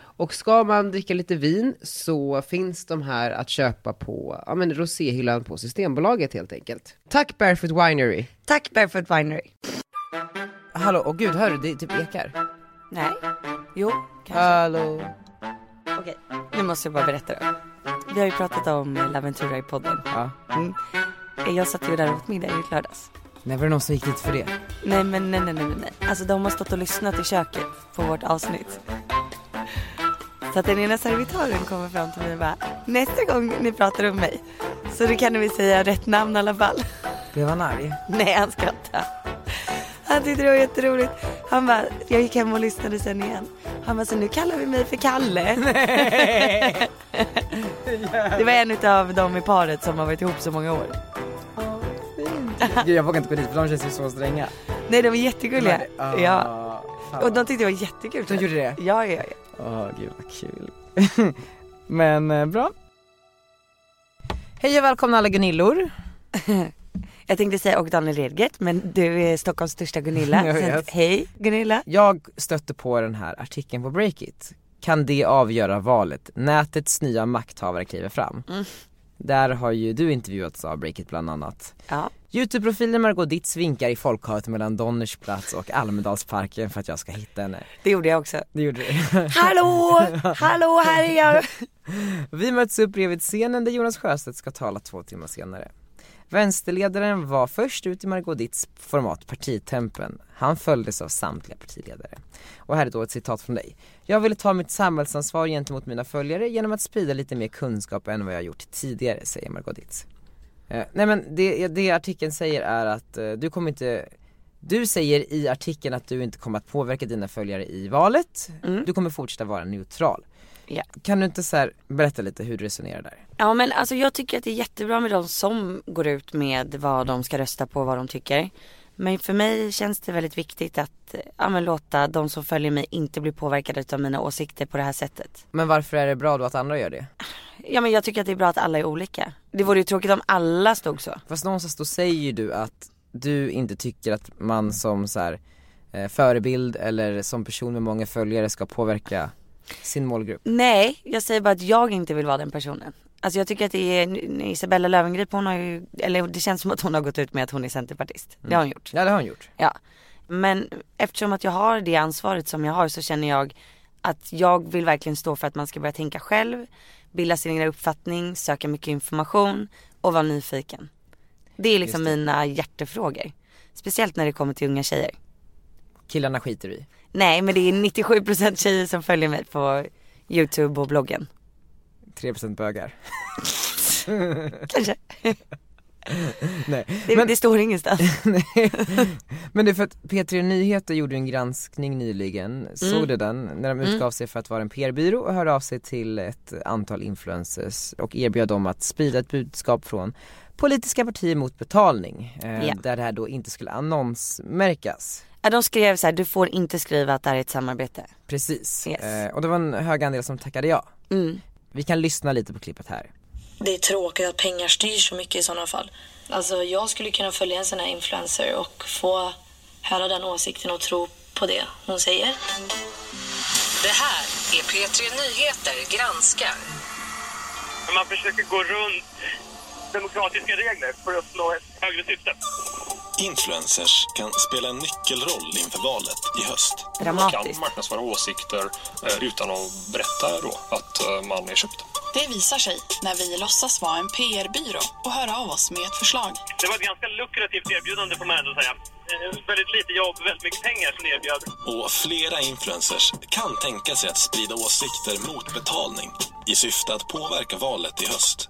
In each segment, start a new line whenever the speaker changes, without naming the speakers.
Och ska man dricka lite vin så finns de här att köpa på ja, men roséhyllan på Systembolaget helt enkelt. Tack Barefoot Winery!
Tack Barefoot Winery.
Hallå, åh gud, hör du? Det typ ekar.
Nej. Jo, kanske.
Hallå.
Okej, nu måste jag bara berätta då. Vi har ju pratat om Laventura i podden.
Ja.
Mm. Jag satt ju där åt middag i lördags.
Nej, var det någon som gick dit för det?
Nej men nej nej nej nej. Alltså de har stått och lyssnat i köket på vårt avsnitt. Så att den ena servitören kommer fram till mig och bara nästa gång ni pratar om mig så då kan ni väl säga rätt namn i alla fall.
Blev han arg?
Nej han skrattade. Han tyckte det var jätteroligt. Han bara, jag gick hem och lyssnade sen igen. Han bara, så nu kallar vi mig för Kalle. det var en av dem i paret som har varit ihop så många år.
Gud, jag vågar inte gå dit för de känns ju så stränga.
Nej de var jättegulliga.
Ah,
Ja.
fan.
Och de tyckte det var jättekul.
De gjorde det?
Ja, ja, ja.
Åh gud vad kul. Men eh, bra. Hej och välkomna alla Gunillor.
Jag tänkte säga och Daniel Redgert men du är Stockholms största Gunilla.
Jag
Så
vet.
att, hej Gunilla.
Jag stötte på den här artikeln på Breakit. Kan det avgöra valet? Nätets nya makthavare kliver fram. Där har ju du intervjuats av Breakit bland annat.
Ja.
Youtube-profilen Margot Dietz vinkar i folkhavet mellan Donnersplats och Almedalsparken för att jag ska hitta henne.
Det gjorde jag också.
Det gjorde du.
Hallå, hallå här är jag.
Vi möts upp bredvid scenen där Jonas Sjöstedt ska tala två timmar senare. Vänsterledaren var först ut i Margot Dietz format partitempen. Han följdes av samtliga partiledare. Och här är då ett citat från dig. Jag ville ta mitt samhällsansvar gentemot mina följare genom att sprida lite mer kunskap än vad jag gjort tidigare, säger Margot Dietz. Eh, nej men det, det artikeln säger är att eh, du kommer inte du säger i artikeln att du inte kommer att påverka dina följare i valet, du kommer fortsätta vara neutral.
Ja.
Kan du inte så här berätta lite hur du resonerar där?
Ja men alltså jag tycker att det är jättebra med de som går ut med vad de ska rösta på och vad de tycker. Men för mig känns det väldigt viktigt att ja, men låta de som följer mig inte bli påverkade av mina åsikter på det här sättet.
Men varför är det bra då att andra gör det?
Ja men jag tycker att det är bra att alla är olika. Det vore ju tråkigt om alla stod så.
Fast någonstans då säger ju du att du inte tycker att man som så här, eh, förebild eller som person med många följare ska påverka sin målgrupp.
Nej, jag säger bara att jag inte vill vara den personen. Alltså jag tycker att det är n- Isabella Löwengrip, hon har ju, eller det känns som att hon har gått ut med att hon är centerpartist. Det har hon gjort.
Ja det har hon gjort.
Ja. Men eftersom att jag har det ansvaret som jag har så känner jag att jag vill verkligen stå för att man ska börja tänka själv, bilda sin egen uppfattning, söka mycket information och vara nyfiken. Det är liksom
Just
mina hjärtefrågor. Speciellt när det kommer till unga tjejer.
Killarna skiter i.
Nej men det är 97% tjejer som följer mig på YouTube och bloggen.
3% bögar.
Kanske.
Nej.
Det,
Men-
det står ingenstans.
Nej. Men det är för att P3 Nyheter gjorde en granskning nyligen, såg
Mm.
du den? När de utgav sig för att vara en PR-byrå och hörde av sig till ett antal influencers och erbjöd dem att sprida ett budskap från politiska partier mot betalning. Eh,
Ja.
Där det här då inte skulle annonsmärkas.
Ja, de skrev så här, du får inte skriva att det här är ett samarbete.
Precis.
Yes.
Eh, och det var en hög andel som tackade ja.
Mm.
Vi kan lyssna lite på klippet här.
Det är tråkigt att pengar styr så mycket i sådana fall. Alltså jag skulle kunna följa en sån här influencer och få höra den åsikten och tro på det hon säger.
Det här är P3 Nyheter granskar.
Men man försöker gå runt demokratiska regler för att uppnå ett högre syfte.
Influencers kan spela en nyckelroll inför valet i höst.
Dramatiskt.
kan marknadsföra åsikter eh, utan att berätta då att eh, man är köpt.
Det visar sig när vi låtsas vara en PR-byrå och hör av oss med ett förslag.
Det var ett ganska lukrativt erbjudande får man ändå säga. Eh, Väldigt lite jobb, väldigt mycket pengar som ni erbjöd.
Och flera influencers kan tänka sig att sprida åsikter mot betalning i syfte att påverka valet i höst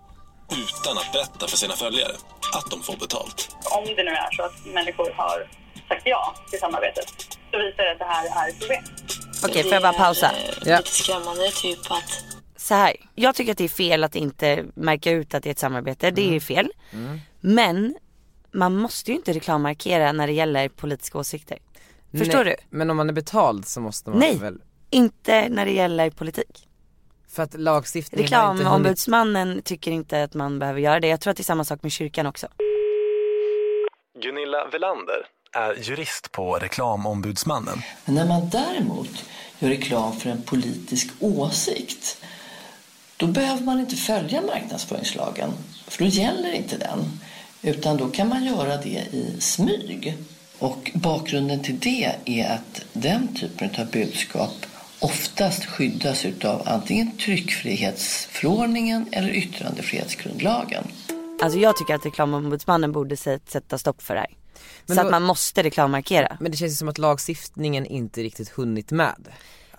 utan att berätta för sina följare att de får betalt.
om det nu är så att människor har sagt ja till samarbetet, så visar det att det här är ett problem.
Okej, får jag bara pausa?
Det är eh,
Ja.
lite skrämmande typ att
så här, jag tycker att det är fel att inte märka ut att det är ett samarbete, det
Mm.
är fel. Men man måste ju inte reklammarkera när det gäller politiska åsikter. Förstår
Nej,
du?
Men om man är betald så måste man
Nej,
väl
inte när det gäller politik.
För att lagstiftningen har inte hunnit
Reklamombudsmannen tycker inte att man behöver göra det. Jag tror att det är samma sak med kyrkan också.
Gunilla Velander är jurist på Reklamombudsmannen.
Men när man däremot gör reklam för en politisk åsikt då behöver man inte följa marknadsföringslagen, för då gäller inte den. Utan då kan man göra det i smyg. Och bakgrunden till det är att den typen av budskap oftast skyddas utav antingen tryckfrihetsförordningen eller yttrandefrihetsgrundlagen.
Alltså jag tycker att reklamombudsmannen borde sä- sätta stopp för det här.
Men
så
då-
att man måste reklammarkera.
Men det känns ju som att lagstiftningen inte riktigt hunnit med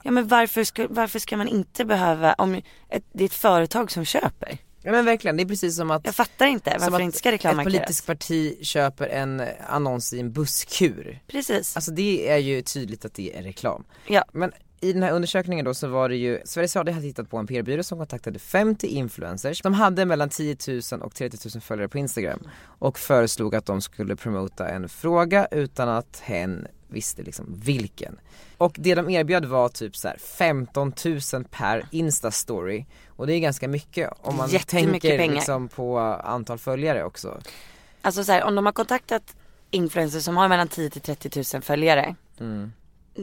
Ja men varför ska, varför ska man inte behöva, om ett, det är ett företag som köper.
Ja men verkligen, det är precis som att
Jag fattar inte varför
som
det
att
inte ska
ett
reklammarkeras.
politiskt parti köper en annons i en busskur
Precis.
Alltså det är ju tydligt att det är reklam
Ja.
Men i den här undersökningen då så var det ju, Sveriges Radio hade hittat på en PR-byrå som kontaktade 50 influencers. De hade mellan 10 000 och 30 000 följare på Instagram och föreslog att de skulle promota en fråga utan att hen visste liksom vilken. Och det de erbjöd var typ så här 15 000 per Insta-story och det är ganska mycket om man
Jättemycket
tänker
pengar.
liksom på antal följare också.
Alltså så här, om de har kontaktat influencers som har mellan 10 till 30 000 följare.
Mm.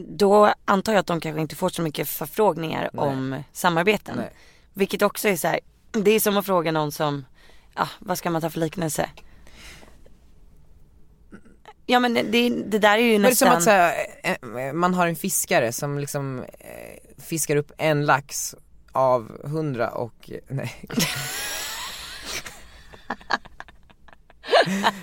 Då antar jag att de kanske inte får så mycket förfrågningar om samarbeten.
Nej.
Vilket också är så här, det är som att fråga någon som, ah, vad ska man ta för liknelse? Ja men det, det där är ju
Men det är
nästan,
som att så här, eh, eh, man har en fiskare som liksom eh, fiskar upp en lax av hundra och, eh, nej.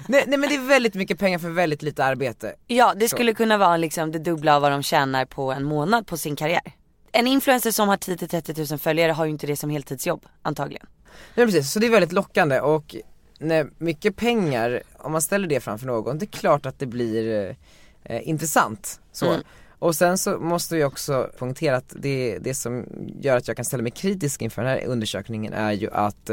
nej. Nej men det är väldigt mycket pengar för väldigt lite arbete.
ja det skulle kunna vara liksom det dubbla av vad de tjänar på en månad på sin karriär. En influencer som har 10 till 30 000 följare har ju inte det som heltidsjobb antagligen.
Nej precis, så det är väldigt lockande och när mycket pengar, om man ställer det framför någon, det är klart att det blir eh, intressant. Så. Och sen så måste jag också poängtera att det, det som gör att jag kan ställa mig kritisk inför den här undersökningen är ju att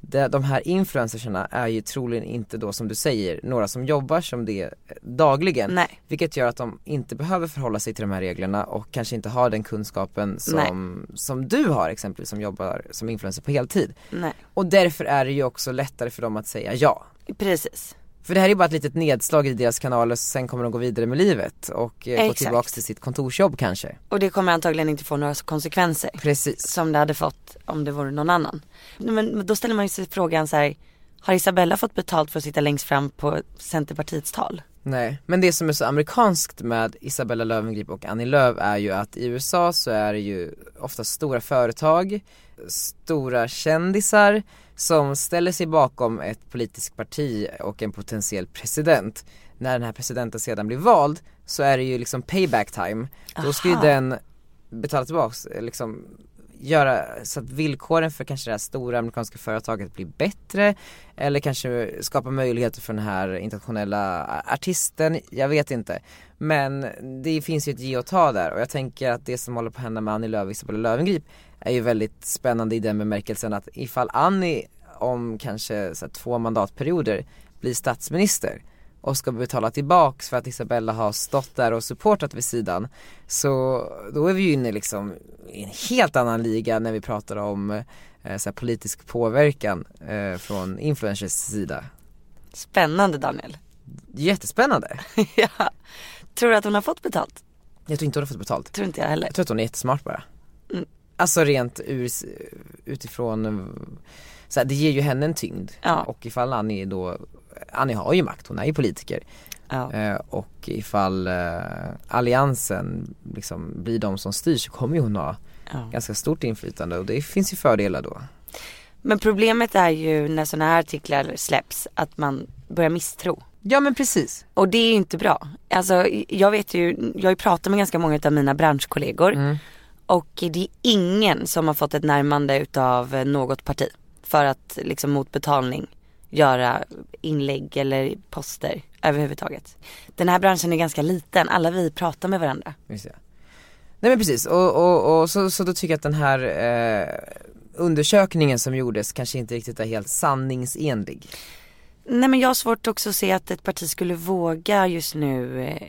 de, de här influencerserna är ju troligen inte då som du säger några som jobbar som det eh, dagligen.
Nej.
Vilket gör att de inte behöver förhålla sig till de här reglerna och kanske inte har den kunskapen som, som du har exempelvis som jobbar som influencer på heltid.
Nej,
Och därför är det ju också lättare för dem att säga ja.
precis.
För det här är bara ett litet nedslag i deras kanaler, så sen kommer de gå vidare med livet och eh, gå
Exakt.
tillbaks till sitt kontorsjobb kanske.
Och det kommer antagligen inte få några konsekvenser
Precis.
som det hade fått om det vore någon annan. Men då ställer man ju sig frågan så här, har Isabella fått betalt för att sitta längst fram på Centerpartiets tal?
Nej, men det som är så amerikanskt med Isabella Löwengrip och Annie Lööf är ju att i USA så är det ju ofta stora företag, stora kändisar som ställer sig bakom ett politiskt parti och en potentiell president. När den här presidenten sedan blir vald så är det ju liksom payback time. Då ska ju
Aha.
den betala tillbaks, eh, liksom göra så att villkoren för kanske det här stora amerikanska företaget blir bättre eller kanske skapa möjligheter för den här internationella a- artisten, jag vet inte. Men det finns ju ett ge och ta där och jag tänker att det som håller på att hända med Annie Lööf och Isabella Löwengrip är ju väldigt spännande i den bemärkelsen att ifall Annie om kanske så här, två mandatperioder blir statsminister och ska betala tillbaks för att Isabella har stått där och supportat vid sidan så då är vi ju inne liksom i en helt annan liga när vi pratar om eh, så här politisk påverkan eh, från influencers sida.
Spännande Daniel.
Jättespännande.
ja. Tror du att hon har fått betalt?
Jag tror inte hon har fått betalt.
Tror inte jag heller.
Jag tror att hon är jättesmart bara. Alltså rent ur, utifrån, eh, så här, det ger ju henne en tyngd.
Ja.
Och ifall Annie då, Annie har ju makt, hon är ju politiker.
Ja.
Eh, och ifall eh, alliansen liksom blir de som styr så kommer ju hon ha
Ja.
ganska stort inflytande och det finns ju fördelar då.
Men problemet är ju när sådana här artiklar släpps att man börjar misstro.
Ja men precis.
Och det är ju inte bra. Alltså jag vet ju, jag har ju pratat med ganska många av mina branschkollegor. Och det är ingen som har fått ett närmande utav något parti. För att liksom mot betalning göra inlägg eller poster överhuvudtaget. Den här branschen är ganska liten, alla vi pratar med varandra.
Just det. Nej men precis, och, och, och så, så då tycker jag att den här eh, undersökningen som gjordes kanske inte riktigt är helt sanningsenlig.
Nej men jag har svårt också att se att ett parti skulle våga just nu eh,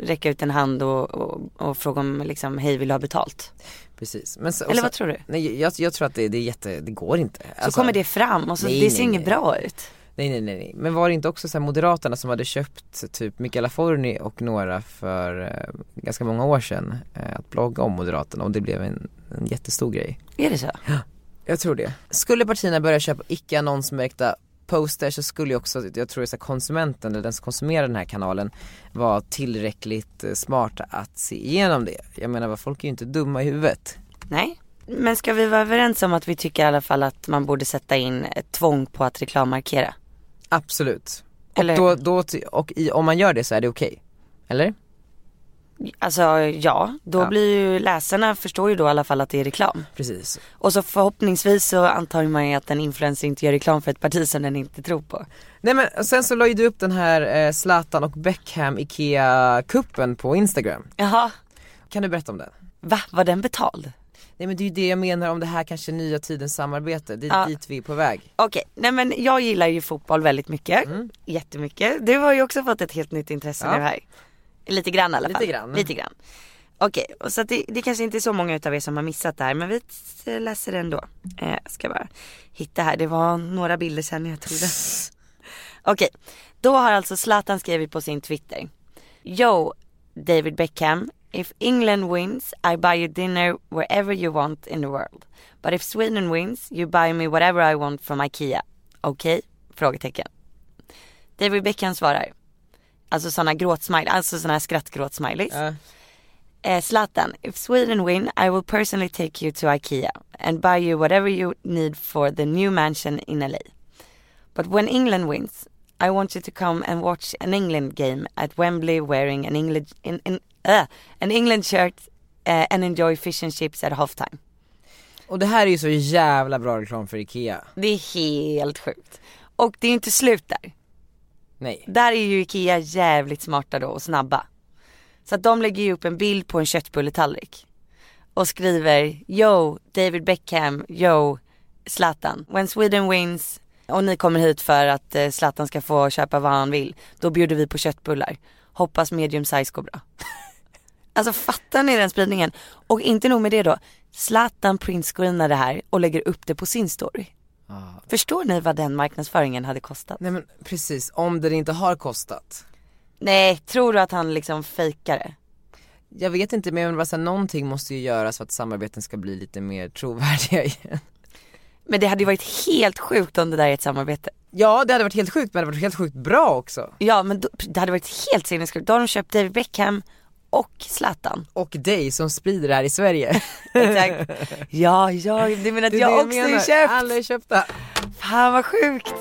räcka ut en hand och, och, och fråga om liksom, hej vill du ha betalt?
Precis. Men, så- och
Eller
så-
vad tror du? Så
Nej jag, jag tror att det, det är jätte, det går inte. Alltså-
kommer det fram och så
nej,
det ser
nej,
inget
nej.
bra ut.
Nej nej nej, nej. men var det inte också så här Moderaterna som hade köpt typ Mikaela Forni och några för eh, ganska många år sedan eh, att blogga om Moderaterna och det blev en, en jättestor grej.
Är det så?
Jag tror det. Skulle partierna börja köpa icke annonsmärkta posters så skulle ju också, jag tror att konsumenten eller den som konsumerar den här kanalen vara tillräckligt eh, smart att se igenom det. Jag menar vad folk är ju inte dumma i huvudet.
Nej. Men ska vi vara överens om att vi tycker i alla fall att man borde sätta in ett tvång på att reklammarkera?
Absolut.
Eller-
Och, då, då, ty- och i, om man gör det så är det okej. Eller?
Alltså ja, då
Ja.
blir ju läsarna förstår ju då i alla fall att det är reklam.
Precis.
Och så förhoppningsvis så antar man ju att en influencer inte gör reklam för ett parti som den inte tror på.
Nej men och sen så la ju du upp den här eh, Zlatan och Beckham IKEA-kuppen på Instagram.
Jaha,
Kan du berätta om den?
va? Var den betald?
Nej men det är ju det jag menar om det här kanske nya tidens samarbete, det är
Ja.
dit vi är på väg.
Okej, nej men jag gillar ju fotboll väldigt mycket. Jättemycket. Du har ju också fått ett helt nytt intresse
Ja.
nu här. Lite grann i alla
Lite
fall.
grann.
Lite grann. Okej, och så att det, det kanske inte är så många utav er som har missat det här men vi t- läser det ändå. Eh, ska bara hitta här, det var några bilder sen jag tog den. Okej, då har alltså Zlatan skrivit på sin Twitter. Yo, David Beckham. If England wins, I buy you dinner wherever you want in the world. But if Sweden wins, you buy me whatever I want from IKEA. Okej? Frågetecken. David Beckham svarar. Alltså sådana gråtsmiley, alltså sådana här skrattgråtsmileys.
Ja.
Eh, Zlatan, if Sweden win, I will personally take you to IKEA and buy you whatever you need for the new mansion in LA. But when England wins, I want you to come and watch an England game at Wembley wearing an England in, in, uh, an England shirt eh, and enjoy fish and chips at halftime.
Och det här är ju så jävla bra reklam för IKEA.
Det är helt sjukt. Och det är ju inte slut där.
Nej.
Där är ju IKEA jävligt smarta då och snabba. Så att de lägger ju upp en bild på en köttbulletallrik. Och skriver Yo David Beckham, yo Zlatan. When Sweden wins och ni kommer hit för att eh, Zlatan ska få köpa vad han vill. Då bjuder vi på köttbullar. Hoppas medium size går bra. alltså fattar ni den spridningen? Och inte nog med det då. Zlatan printscreenar det här och lägger upp det på sin story. Förstår ni vad den marknadsföringen hade kostat?
Nej men precis, om det inte har kostat.
Nej, tror du att han liksom fejkar det?
Jag vet inte men jag menar bara så här, någonting måste ju göras för att samarbeten ska bli lite mer trovärdiga igen.
Men det hade ju varit helt sjukt om det där är ett samarbete.
Ja det hade varit helt sjukt men det hade varit helt sjukt bra också.
Ja, men då, det hade varit helt sinnessjukt. Då har de köpt David Beckham och Zlatan.
Och dig som sprider det här i Sverige.
Exakt. ja, ja, du menar att
Det är
jag
det
också är
menar.
köpt?
Alla är köpta.
Fan vad sjukt.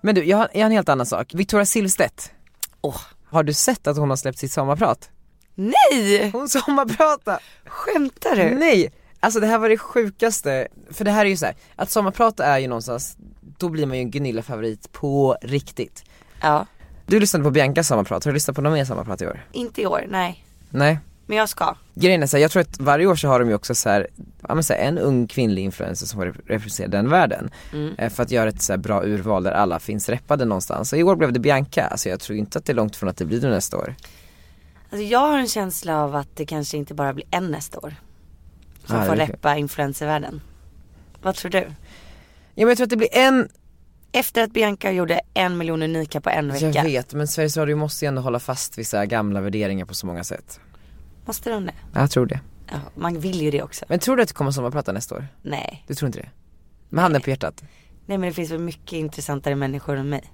Men du, jag har, jag har en helt annan sak. Victoria Silvstedt.
Åh.
Har du sett att hon har släppt sitt sommarprat?
Nej,
Hon sommarpratar!
skämtar du?
Nej! Alltså det här var det sjukaste, för det här är ju så här, att sommarprata är ju någonstans, då blir man ju en Gunilla-favorit på riktigt.
Ja,
Du lyssnade på Biancas sommarprat, har du lyssnat på någon mer sommarprat i år?
inte i år, nej.
Nej.
Men jag ska.
Grejen är så här, jag tror att varje år så har de ju också så här, ja men så här, en ung kvinnlig influencer som rep- representerar den världen. Eh, För att göra ett så här bra urval där alla finns reppade någonstans. Och i år blev det Bianca, alltså jag tror inte att det är långt från att det blir det nästa år.
Alltså jag har en känsla av att det kanske inte bara blir en nästa år. Som
Ja,
får
det är-
reppa influencervärlden. Vad tror du?
Ja men jag tror att det blir en,
Efter att Bianca gjorde en miljon unika på en vecka.
jag vet men Sveriges Radio måste ju ändå hålla fast vid så här gamla värderingar på så många sätt.
Måste de det?
Ja, Jag tror det.
Ja, man vill ju det också.
Men tror du att det kommer sommarprata nästa år?
Nej.
Du tror inte det? Med handen på hjärtat?
Nej men det finns väl mycket intressantare människor än mig.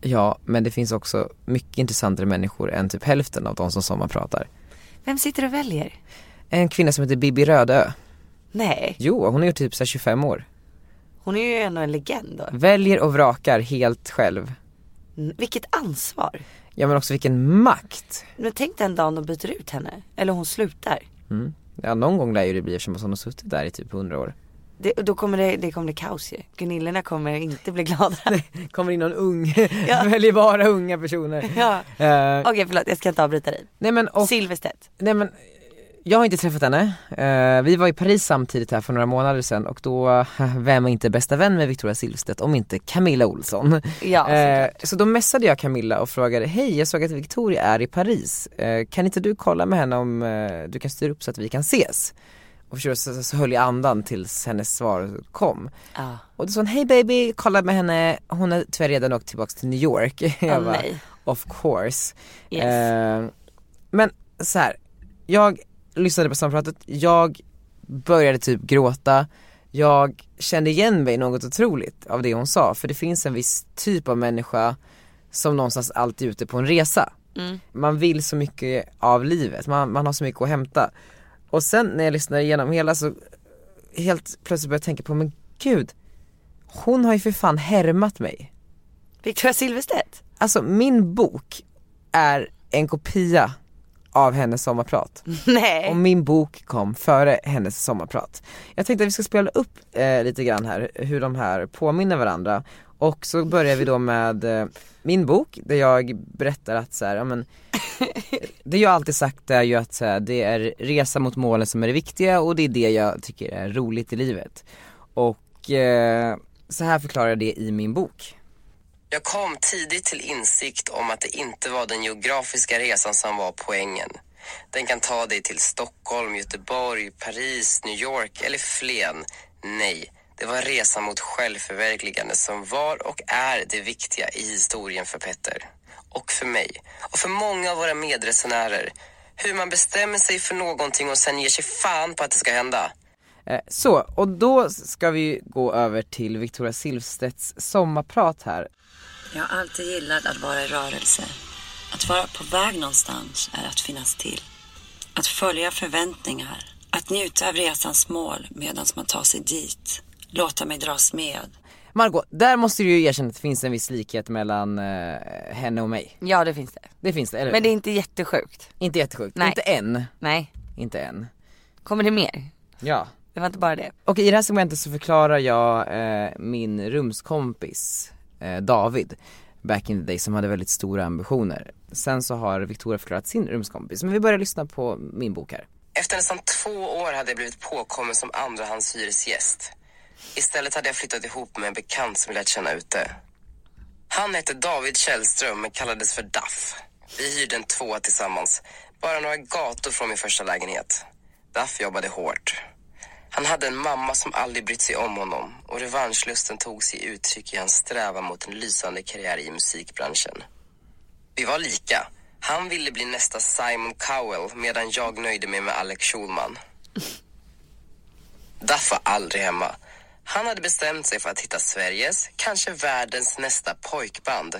Ja, men det finns också mycket intressantare människor än typ hälften av de som sommarpratar.
Vem sitter och väljer?
En kvinna som heter Bibi Rödö.
Nej,
Jo, hon är ju typ så här 25 år.
hon är ju ändå en legend då.
Väljer och vrakar helt själv.
N- Vilket ansvar.
Ja men också vilken makt.
Men tänk den dagen de byter ut henne. Eller hon slutar.
Ja någon gång lär ju det bli eftersom hon har suttit där i typ 100 år.
Det, då kommer det, det kommer bli kaos ju. Gunillorna kommer inte bli glada.
Kommer in någon ung,
Ja.
väljer bara unga personer.
ja.
Eh,
Okej förlåt, jag ska inte avbryta dig.
nej men och,
Silverstedt.
nej men jag har inte träffat henne. Eh, vi var i Paris samtidigt här för några månader sedan och då, vem är inte bästa vän med Victoria Silvstedt om inte Camilla Olsson?
Ja,
Eh,
såklart.
så då messade jag Camilla och frågade, hej jag såg att Victoria är i Paris, eh, kan inte du kolla med henne om eh, du kan styra upp så att vi kan ses? Och så, så, så höll jag andan tills hennes svar kom.
Ja.
Och då sa hon, hej baby, kolla med henne, hon har tyvärr redan åkt tillbaks till New York.
Åh
jag bara,
nej.
of course.
Yes.
Eh, men så här, jag lyssnade på sampratet, jag började typ gråta, jag kände igen mig något otroligt av det hon sa för det finns en viss typ av människa som någonstans alltid är ute på en resa. Man vill så mycket av livet, man, man har så mycket att hämta. Och sen när jag lyssnade igenom hela så helt plötsligt började jag tänka på men gud, hon har ju för fan härmat mig.
Victoria Silverstedt.
Alltså min bok är en kopia av hennes sommarprat
Mm. Nej.
och min bok kom före hennes sommarprat. Jag tänkte att vi ska spela upp eh, lite grann här hur de här påminner varandra och så börjar vi då med eh, min bok där jag berättar att så här, ja, men det jag alltid sagt är ju att så här, det är resa mot målen som är det viktiga och det är det jag tycker är roligt i livet. Och eh, så här förklarar jag det i min bok.
Jag kom tidigt till insikt om att det inte var den geografiska resan som var poängen. Den kan ta dig till Stockholm, Göteborg, Paris, New York eller Flen. Nej, det var resan mot självförverkligande som var och är det viktiga i historien för Petter. Och för mig. Och för många av våra medresenärer. Hur man bestämmer sig för någonting och sen ger sig fan på att det ska hända.
Eh, Så, och då ska vi gå över till Victoria Silvstedts sommarprat här.
Jag har alltid gillat att vara i rörelse. Att vara på väg någonstans är att finnas till. Att följa förväntningar. Att njuta av resans mål medan man tar sig dit. Låta mig dras med.
Margot, där måste du ju erkänna att det finns en viss likhet mellan eh, henne och mig.
Ja det finns det.
Det finns det, eller
Men det
hur?
är inte jättesjukt.
Inte jättesjukt.
Nej.
Inte än.
Nej.
Inte än.
Kommer det mer?
Ja.
Det var inte bara det.
Och i det här segmentet så förklarar jag eh, min rumskompis eh, David back in the day som hade väldigt stora ambitioner. Sen så har Victoria förklarat sin rumskompis. Men vi börjar lyssna på min bok här.
Efter nästan två år hade jag blivit påkommen som andrahandshyresgäst. Istället hade jag flyttat ihop med en bekant som jag lärt känna ute. Han hette David Källström men kallades för Daff. Vi hyrde en tvåa tillsammans, bara några gator från min första lägenhet. Daff jobbade hårt. Han hade en mamma som aldrig brytt sig om honom och revanschlusten tog sig uttryck i hans strävan mot en lysande karriär i musikbranschen. Vi var lika. Han ville bli nästa Simon Cowell medan jag nöjde mig med Alex Schulman. Duff var aldrig hemma. Han hade bestämt sig för att hitta Sveriges, kanske världens nästa pojkband.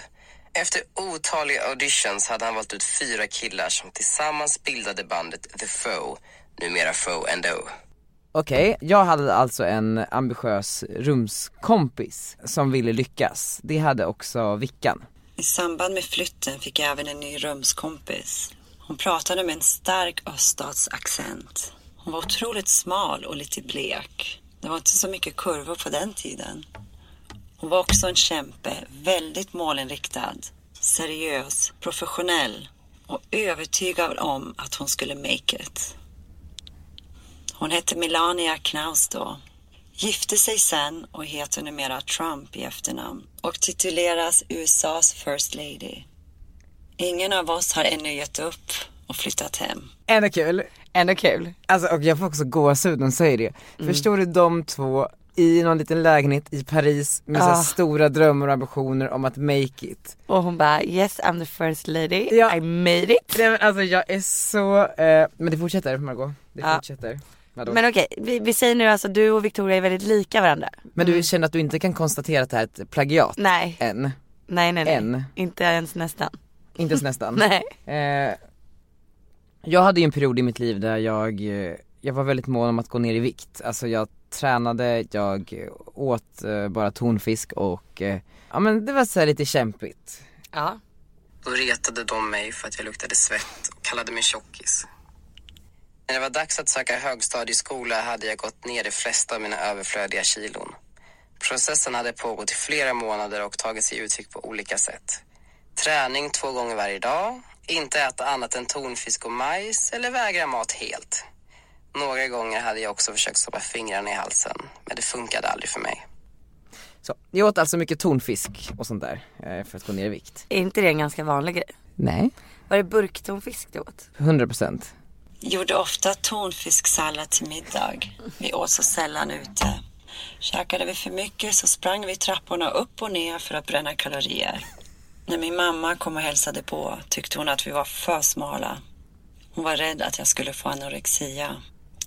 Efter otaliga auditions hade han valt ut fyra killar som tillsammans bildade bandet The Foe, numera Foe and O.
Okej, jag hade alltså en ambitiös rumskompis som ville lyckas. Det hade också Vickan.
I samband med flytten fick jag även en ny rumskompis. Hon pratade med en stark öststatsaccent. Hon var otroligt smal och lite blek. Det var inte så mycket kurvor på den tiden. Hon var också en kämpe, väldigt målinriktad, seriös, professionell och övertygad om att hon skulle make it. Hon hette Melania Knaus då gifte sig sen och heter numera Trump i efternamn och tituleras USAs First Lady. Ingen av oss har ännu gett upp och flyttat hem.
Ändå kul. Mm.
Ändå kul.
Alltså och jag får också gåshud när hon säger det. Förstår du de två i någon liten lägenhet i Paris med så
Ah.
här stora drömmar och ambitioner om att make it.
Och hon bara yes I'm the first lady,
Ja.
I made it.
Nej men alltså jag är så, eh, men det fortsätter Margot. Det
Ja.
fortsätter. Vadå? Men,
Men okej, vi, vi säger nu alltså du och Victoria är väldigt lika varandra.
du känner att du inte kan konstatera att det här är ett plagiat?
Nej,
Än.
nej nej nej.
En.
Inte ens nästan.
Inte ens nästan.
Nej.
Eh, jag hade ju en period i mitt liv där jag, eh, jag var väldigt mån om att gå ner i vikt. Alltså jag tränade, jag åt eh, bara tonfisk och eh, ja men det var så här lite kämpigt.
Ja.
Då retade de mig för att jag luktade svett och kallade mig tjockis. När det var dags att söka högstadieskola hade jag gått ner de flesta av mina överflödiga kilon. Processen hade pågått i flera månader och tagit sig uttryck på olika sätt. Träning två gånger varje dag, inte äta annat än tonfisk och majs eller vägra mat helt. Några gånger hade jag också försökt stoppa fingrarna i halsen, men det funkade aldrig för mig.
Så, jag åt alltså mycket tonfisk och sånt där eh, för att gå ner i vikt.
Är inte det en ganska vanlig grej?
Nej.
Var det burktonfisk du åt?
100 procent.
Gjorde ofta tonfisksallad till middag. Vi åt så sällan ute. Käkade vi för mycket så sprang vi trapporna upp och ner för att bränna kalorier. När min mamma kom och hälsade på tyckte hon att vi var för smala. Hon var rädd att jag skulle få anorexia.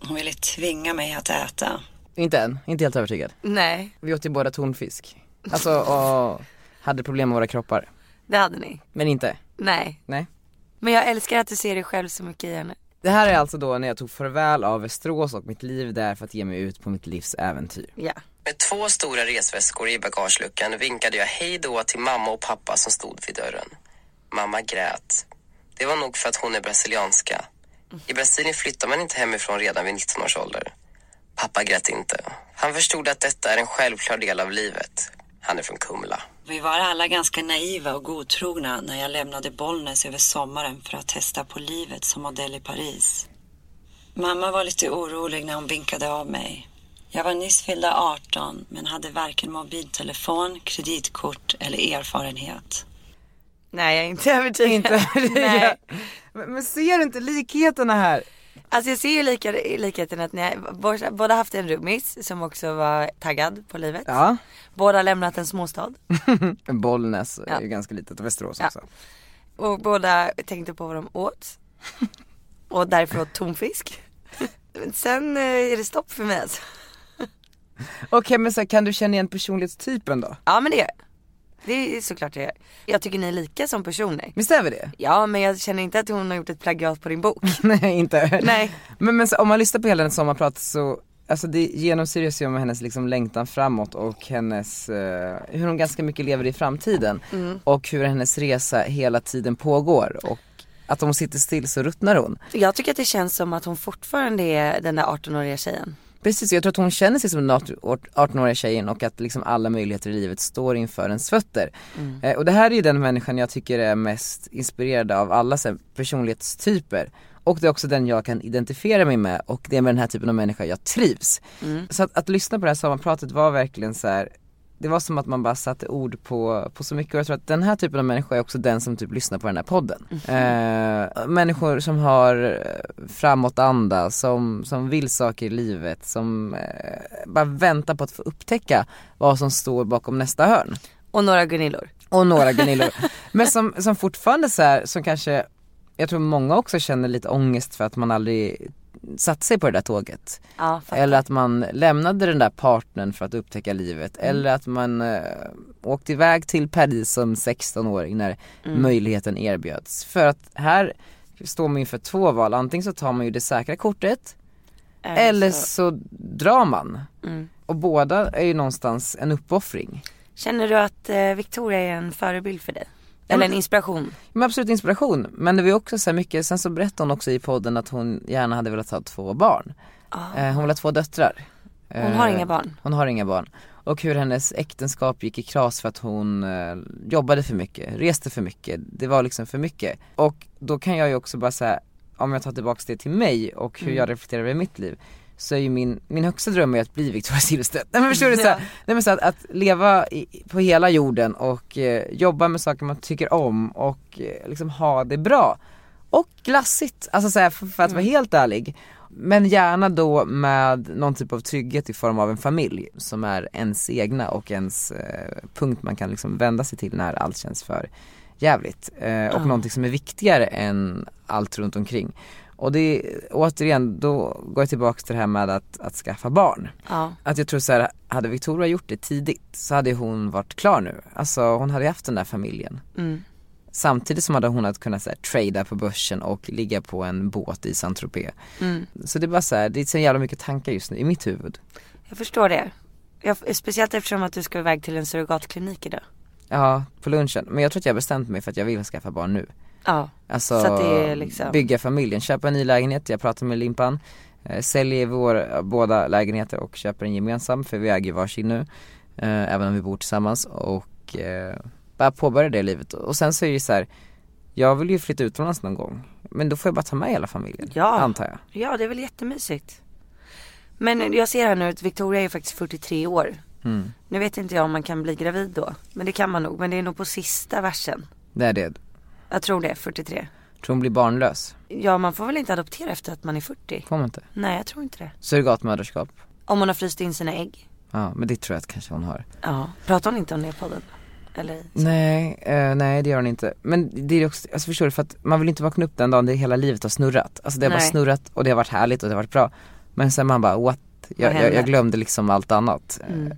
Hon ville tvinga mig att äta.
Inte än, inte helt övertygad.
Nej,
Vi åt ju båda tonfisk. Alltså och hade problem med våra kroppar.
det hade ni.
Men inte.
Nej.
Nej.
Men jag älskar att du ser dig själv så mycket i henne.
Det här är alltså då när jag tog farväl av Västerås och mitt liv där för att ge mig ut på mitt livs äventyr.
Ja.
Med två stora resväskor i bagageluckan vinkade jag hej då till mamma och pappa som stod vid dörren. Mamma grät. Det var nog för att hon är brasilianska. I Brasilien flyttar man inte hemifrån redan vid 19 års ålder. Pappa grät inte. Han förstod att detta är en självklar del av livet. Han är från Kumla.
Vi var alla ganska naiva och godtrogna när jag lämnade Bollnäs över sommaren för att testa på livet som modell i Paris. Mamma var lite orolig när hon vinkade av mig. Jag var nyss fyllda 18 men hade varken mobiltelefon, kreditkort eller erfarenhet.
Nej, jag är inte övertygad.
Inte övertygad.
Nej.
Men, men ser du inte likheterna här?
Alltså jag ser ju lika, likheten att ni har- båda- båda haft en roomies som också var taggad på livet.
Ja.
Båda har lämnat en småstad.
Bollnäs är
Ja.
ju ganska litet och Västerås
Ja.
också.
Och båda tänkte på vad de åt. Och därför åt tonfisk. Men sen eh, är det stopp för mig alltså.
Okej men så här, kan du känna igen personlighetstypen då?
Ja men det gör jag. Det är såklart jag gör. Jag tycker ni är lika som personer.
Visst är vi det?
Ja men jag känner inte att hon har gjort ett plagiat på din bok.
Nej inte.
Nej.
Men, men så, om man lyssnar på hela hennes sommarprat så, alltså det genomsyras ju om hennes liksom längtan framåt och hennes, eh, hur hon ganska mycket lever i framtiden. Och hur hennes resa hela tiden pågår och att om hon sitter still så ruttnar hon.
Jag tycker att det känns som att hon fortfarande är den där 18-åriga tjejen.
Precis, jag tror att hon känner sig som den 18-åriga tjejen och att liksom alla möjligheter i livet står inför ens fötter. Eh, och det här är ju den människan jag tycker är mest inspirerad av alla så här, personlighetstyper. Och det är också den jag kan identifiera mig med och det är med den här typen av människa jag trivs. Så att, att lyssna på det här sommarpratet var verkligen så här. Det var som att man bara satte ord på, på så mycket och jag tror att den här typen av människor är också den som typ lyssnar på den här podden. Eh, människor som har eh, framåtanda, som, som vill saker i livet, som eh, bara väntar på att få upptäcka vad som står bakom nästa hörn.
Och några Gunillor.
Och några Gunillor. Men som, som fortfarande så här, som kanske, jag tror många också känner lite ångest för att man aldrig satt sig på det där tåget.
Ja, fattar.
Eller att man lämnade den där partnern för att upptäcka livet.
Mm.
Eller att man eh, åkte iväg till Paris som 16-åring när
Mm.
möjligheten erbjöds. För att här står man inför två val. Antingen så tar man ju det säkra kortet
Eh,
eller så drar man.
Mm.
Och båda är ju någonstans en uppoffring.
Känner du att eh, Victoria är en förebild för dig? Eller en inspiration?
Men absolut inspiration. Men det var ju också så här mycket, sen så berättade hon också i podden att hon gärna hade velat ha två barn. Eh, Hon vill ha två döttrar.
Ah. Hon har
Eh,
inga barn.
Hon har inga barn. Och hur hennes äktenskap gick i kras för att hon eh, jobbade för mycket, reste för mycket, det var liksom för mycket. Och då kan jag ju också bara säga, om jag tar tillbaks det till mig och hur jag reflekterar över mitt liv. Så är ju min, min högsta dröm är att bli Victoria Silvstedt. Nej men förstår du? Så här, nej, men så att, att leva i, på hela jorden och eh, jobba med saker man tycker om och eh, liksom ha det bra. Och glassigt, alltså så här, för, för att vara helt ärlig. Men gärna då med någon typ av trygghet i form av en familj som är ens egna och ens eh, punkt man kan liksom vända sig till när allt känns för jävligt. Eh, och någonting som är viktigare än allt runt omkring. Och det är återigen, då går jag tillbaka till det här med att, att skaffa barn.
Ja.
Att jag tror så här, hade Victoria gjort det tidigt så hade hon varit klar nu. Alltså hon hade ju haft den där familjen. Samtidigt som hade hon hade kunnat så här, trada på börsen och ligga på en båt i Saint-Tropez. Så det är bara så här, det är så jävla mycket tankar just nu i mitt huvud.
Jag förstår det. Jag, speciellt eftersom att du ska iväg till en surrogatklinik idag.
Ja, på lunchen. Men jag tror att jag har bestämt mig för att jag vill skaffa barn nu.
Ja.
Alltså
Så att det är liksom-
bygga familjen, köpa en ny lägenhet, jag pratar med Limpan eh, Säljer vår, båda lägenheter och köper en gemensam för vi äger ju varsin nu eh, Även om vi bor tillsammans och eh, bara påbörja det livet och sen så är det ju så här. Jag vill ju flytta utomlands någon gång Men då får jag bara ta med hela familjen,
Ja.
antar jag
Ja, det är väl jättemysigt. Men jag ser här nu att Victoria är faktiskt 43 år.
mm.
Nu vet inte jag om man kan bli gravid då. Men det kan man nog. Men det är nog på sista versen.
Det är det, jag
Jag tror det, 43.
tror hon blir barnlös,
Ja, man får väl inte adoptera efter att man är 40?
får man inte?
Nej, jag tror inte det.
Surrogatmödraskap,
Om hon har fryst in sina ägg.
ja men det tror jag att kanske hon har
Ja. Pratar hon inte om det i podden? Eller?
Nej, eh, nej det gör den inte. Men det är också, alltså förstår du, för att man vill inte vakna upp den dagen det hela livet har snurrat. Alltså det har bara
Nej.
snurrat och det har varit härligt och det har varit bra. Men sen man bara what? Jag, jag,
hände?
jag glömde liksom allt annat.
Mm.
Eh,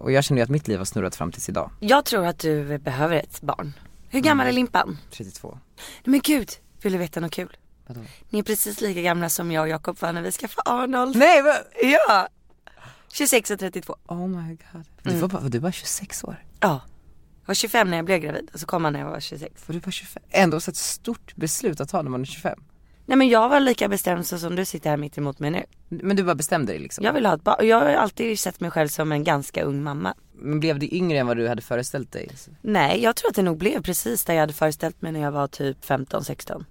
Och jag känner ju att mitt liv har snurrat fram tills idag,
Jag tror att du behöver ett barn. Hur
Mm.
gammal är Limpan?
32.
Nej, Men gud, vill du veta något kul?
Vadå?
Ni är precis lika gamla som jag och Jakob var när vi skaffade Arnold.
Nej men,
Ja! 26 och 32.
oh my god. Du var bara, du var 26 år.
Ja. Jag var 25 när jag blev gravid och så kom han när jag var 26.
Var du bara 25? Ändå så ett stort beslut att ta när man är 25.
Nej men jag var lika bestämd så som du sitter här mitt emot mig nu.
Men du bara bestämde dig liksom.
Jag vill ha ett barn. Jag har alltid sett mig själv som en ganska ung mamma.
Men blev du yngre än vad du hade föreställt dig?
Nej, jag tror att det nog blev precis där jag hade föreställt mig när jag var typ 15-16.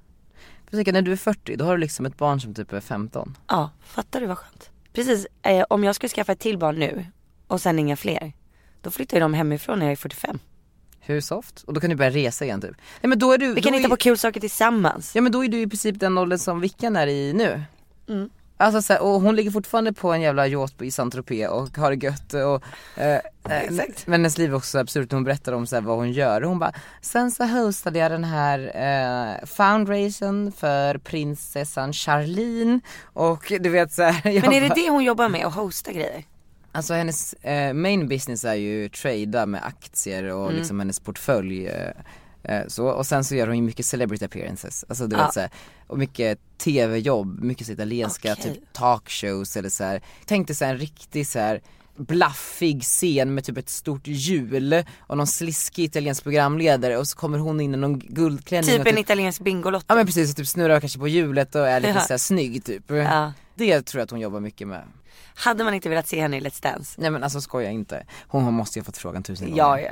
Jag tänker, när du är 40, då har du liksom ett barn som typ är 15.
Ja, fattar du vad skönt? Precis, eh, om jag skulle skaffa ett till barn nu och sen inga fler, då flyttar ju de hemifrån när jag är 45.
Hur soft? Och då kan du börja resa igen typ. Nej men då är du,
Vi kan
då
hitta
är...
på kul saker tillsammans.
Ja men då är du i princip den åldern som Vickan är i nu.
Mm.
Alltså så här, och hon ligger fortfarande på en jävla yacht i saint och har det gött och eh, eh, Men hennes liv är också så absurt, hon berättar om så här, vad hon gör och hon bara Sen så hostade jag den här eh, foundation för prinsessan Charlene och du vet så här, jag
Men är det
bara-
det hon jobbar med, att hosta grejer?
Alltså hennes eh, main business är ju trada med aktier och
Mm.
liksom hennes portfölj eh, eh, så, och sen så gör hon ju mycket celebrity appearances, alltså du
Ja.
vet såhär, och mycket tv-jobb, mycket så italienska
Okej.
typ talkshows eller såhär, tänk dig såhär en riktig såhär blaffig scen med typ ett stort hjul och någon sliskig italiensk programledare och så kommer hon in i någon guldklänning
Typ
och
en
typ,
italiensk bingolotto.
ja men precis, och typ snurrar kanske på hjulet och är lite
Ja.
såhär snygg typ.
Ja.
Det tror jag att hon jobbar mycket med.
Hade man inte velat se henne i Let's Dance?
Nej men alltså skoja inte. Hon måste ju ha fått frågan tusen gånger.
Ja, ja.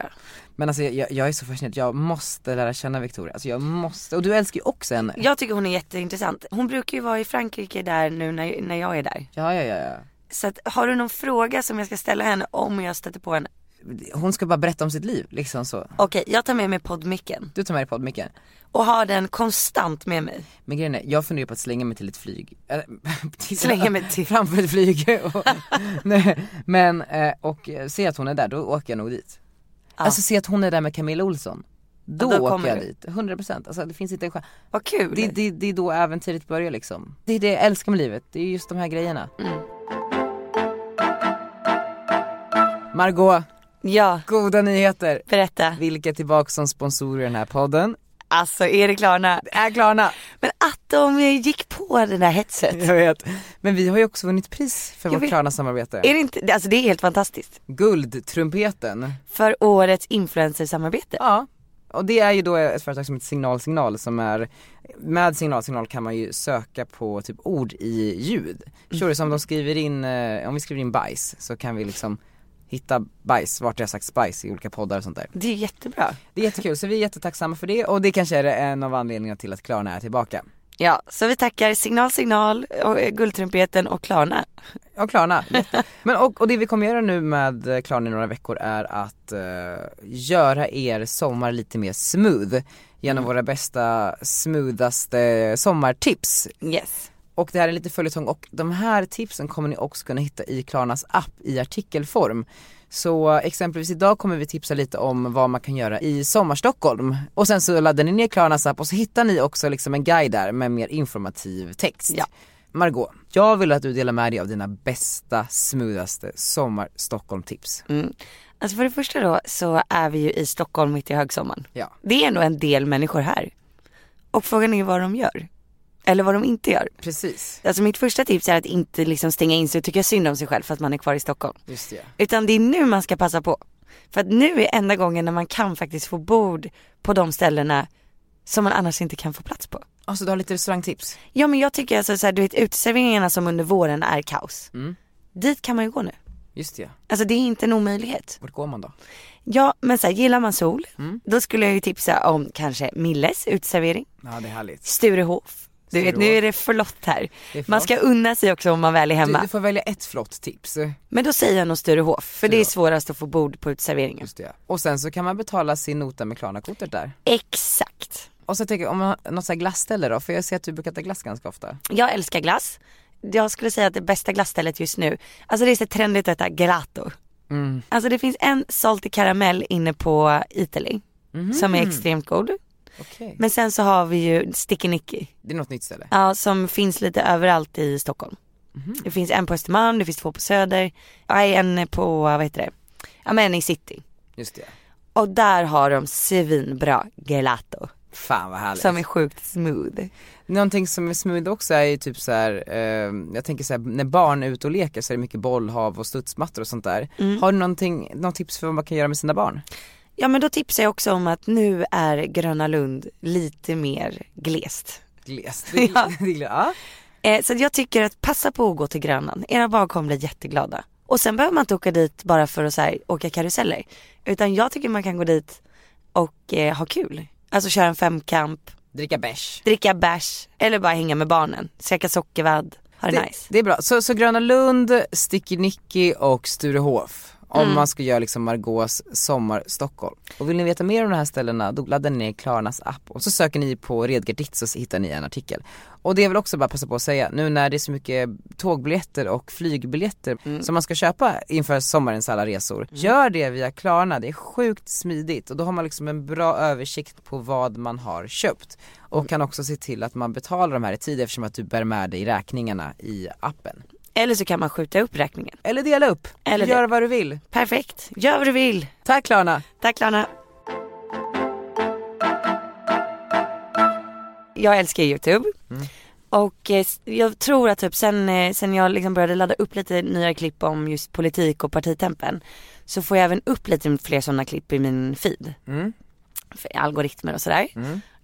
Men alltså jag, jag är så fascinerad, jag måste lära känna Victoria, alltså jag måste, och du älskar ju också henne
Jag tycker hon är jätteintressant. Hon brukar ju vara i Frankrike där nu när, när jag är där.
Ja ja ja, ja.
Så att, har du någon fråga som jag ska ställa henne om jag stöter på henne?
Hon ska bara berätta om sitt liv liksom så
Okej, jag tar med mig poddmicken
Du tar med dig poddmicken
och har den konstant med mig.
Men grejen är, jag funderar på att slänga mig till ett flyg Eller, till-
Slänga mig till-
Framför ett flyg och, nej, Men, eh, och se att hon är där, då åker jag nog dit Alltså se att hon är där med Camilla Olsson då,
Ja, då
åker
kommer
jag
du.
dit, 100% alltså det finns inte en chans.
Vad kul.
Det, det, det är då äventyret börjar liksom. Det är det jag älskar med livet, det är just de här grejerna.
Mm.
Margot,
Ja,
goda nyheter!
berätta.
Vilka är tillbaka som sponsorer i den här podden?
Alltså Erik Klarna.
Det är Klarna!
Men att de gick på det där hetset.
Jag vet. Men vi har ju också vunnit pris för
Jag
vårt
vet.
Klarna-samarbete.
Är det inte, alltså det är helt fantastiskt.
Guldtrumpeten.
För årets influencersamarbete.
Ja. Och det är ju då ett företag som heter Signal Signal som är, med Signal Signal kan man ju söka på typ ord i ljud. Förstår du? Så om de skriver in, eh, om vi skriver in bajs så kan vi liksom hitta bajs, vart jag har sagt spice i olika poddar och sånt där.
Det är jättebra.
Det är jättekul, så vi är jättetacksamma för det och det kanske är en av anledningarna till att Klarna är tillbaka.
Ja, så vi tackar Signal Signal, och eh, Guldtrumpeten och Klarna.
Ja Klarna, jätte. Men och, och det vi kommer göra nu med eh, Klarna i några veckor är att eh, göra er sommar lite mer smooth genom våra bästa, smoothaste sommartips.
Yes.
Och det här är lite följetong och de här tipsen kommer ni också kunna hitta i Klarnas app i artikelform. Så exempelvis idag kommer vi tipsa lite om vad man kan göra i Sommarstockholm. Och sen så laddar ni ner Klarnas app och så hittar ni också liksom en guide där med mer informativ text.
Ja.
Margot, jag vill att du delar med dig av dina bästa, smoothaste sommar-Stockholm-tips.
Mm. Alltså för det första då så är vi ju i Stockholm mitt i högsommaren.
Ja.
Det är ändå en del människor här. Och frågan är vad de gör. Eller vad de inte gör.
Precis,
Alltså mitt första tips är att inte liksom stänga in sig och tycka synd om sig själv för att man är kvar i Stockholm.
just det.
Utan det är nu man ska passa på. För att nu är enda gången när man kan faktiskt få bord på de ställena Som man annars inte kan få plats på.
Alltså du har lite restaurangtips?
Ja men jag tycker alltså så här, du vet uteserveringarna som under våren är kaos.
Mm.
Dit kan man ju gå nu.
Just det.
Alltså det är inte en omöjlighet.
Vart går man då?
Ja men så här, gillar man sol,
Mm.
då skulle jag ju tipsa om kanske Milles uteservering.
Ja det är härligt.
Sturehof. Du vet nu
Sturehof.
är det flott här.
Det är flott.
Man ska unna sig också om man väl är
Du,
hemma.
du får välja ett flott tips.
Men då säger jag nog Sturehof för det är svårast att få bord på uteserveringen.
Just det. Och sen så kan man betala sin nota med Klarna-kortet där.
Exakt.
Och så tänker jag, om man har något så här glassställe då? För jag ser att du brukar äta glass ganska ofta.
Jag älskar glass. Jag skulle säga att det bästa glassstället just nu, alltså det är så trendigt att äta gelato.
Mm.
Alltså det finns en salty karamell inne på Italy som är extremt god.
Okej.
Men sen så har vi ju Sticky Nicky.
Det är något nytt ställe.
Ja, som finns lite överallt i Stockholm. Det finns en på Östermalm, det finns två på Söder, ja, en på, vad heter det, ja men i city.
Just det.
Och där har de svinbra gelato.
Fan vad härligt.
Som är sjukt smooth.
Någonting som är smooth också är ju typ så här, eh, jag tänker så här, när barn är ute och leker så är det mycket bollhav och studsmattor och sånt där. Har du någonting, någon tips för vad man kan göra med sina barn?
Ja men då tipsar jag också om att nu är Gröna Lund lite mer glest.
Glest. Ja. ja.
Eh, så jag tycker att passa på att gå till Grönan. Era barn kommer bli jätteglada. Och sen behöver man inte åka dit bara för att så här, åka karuseller. Utan jag tycker man kan gå dit och eh, ha kul. Alltså köra en femkamp,
Dricka bärs.
dricka bärs eller bara hänga med barnen. Käka sockervadd, ha det,
Det,
nice.
det är bra. Så, så Gröna Lund, Sticky Nicky och Sturehof. Om
Mm.
man ska göra liksom Margaux sommar Stockholm. Och vill ni veta mer om de här ställena då laddar ni ner Klarnas app och så söker ni på Redgardit så hittar ni en artikel. Och det är väl också bara passa på att säga nu när det är så mycket tågbiljetter och flygbiljetter
Mm.
som man ska köpa inför sommarens alla resor. Gör det via Klarna, det är sjukt smidigt och då har man liksom en bra översikt på vad man har köpt. Och kan också se till att man betalar de här i tid eftersom att du bär med dig räkningarna i appen.
Eller så kan man skjuta upp räkningen.
Eller dela upp,
Eller
gör vad du vill.
Perfekt, gör vad du vill.
Tack Klarna!
Tack Lana. Jag älskar Youtube.
Mm.
Och eh, s- jag tror att typ sen, eh, sen jag liksom började ladda upp lite nya klipp om just politik och partitempen. Så får jag även upp lite fler sådana klipp i min feed.
Mm.
För algoritmer och sådär.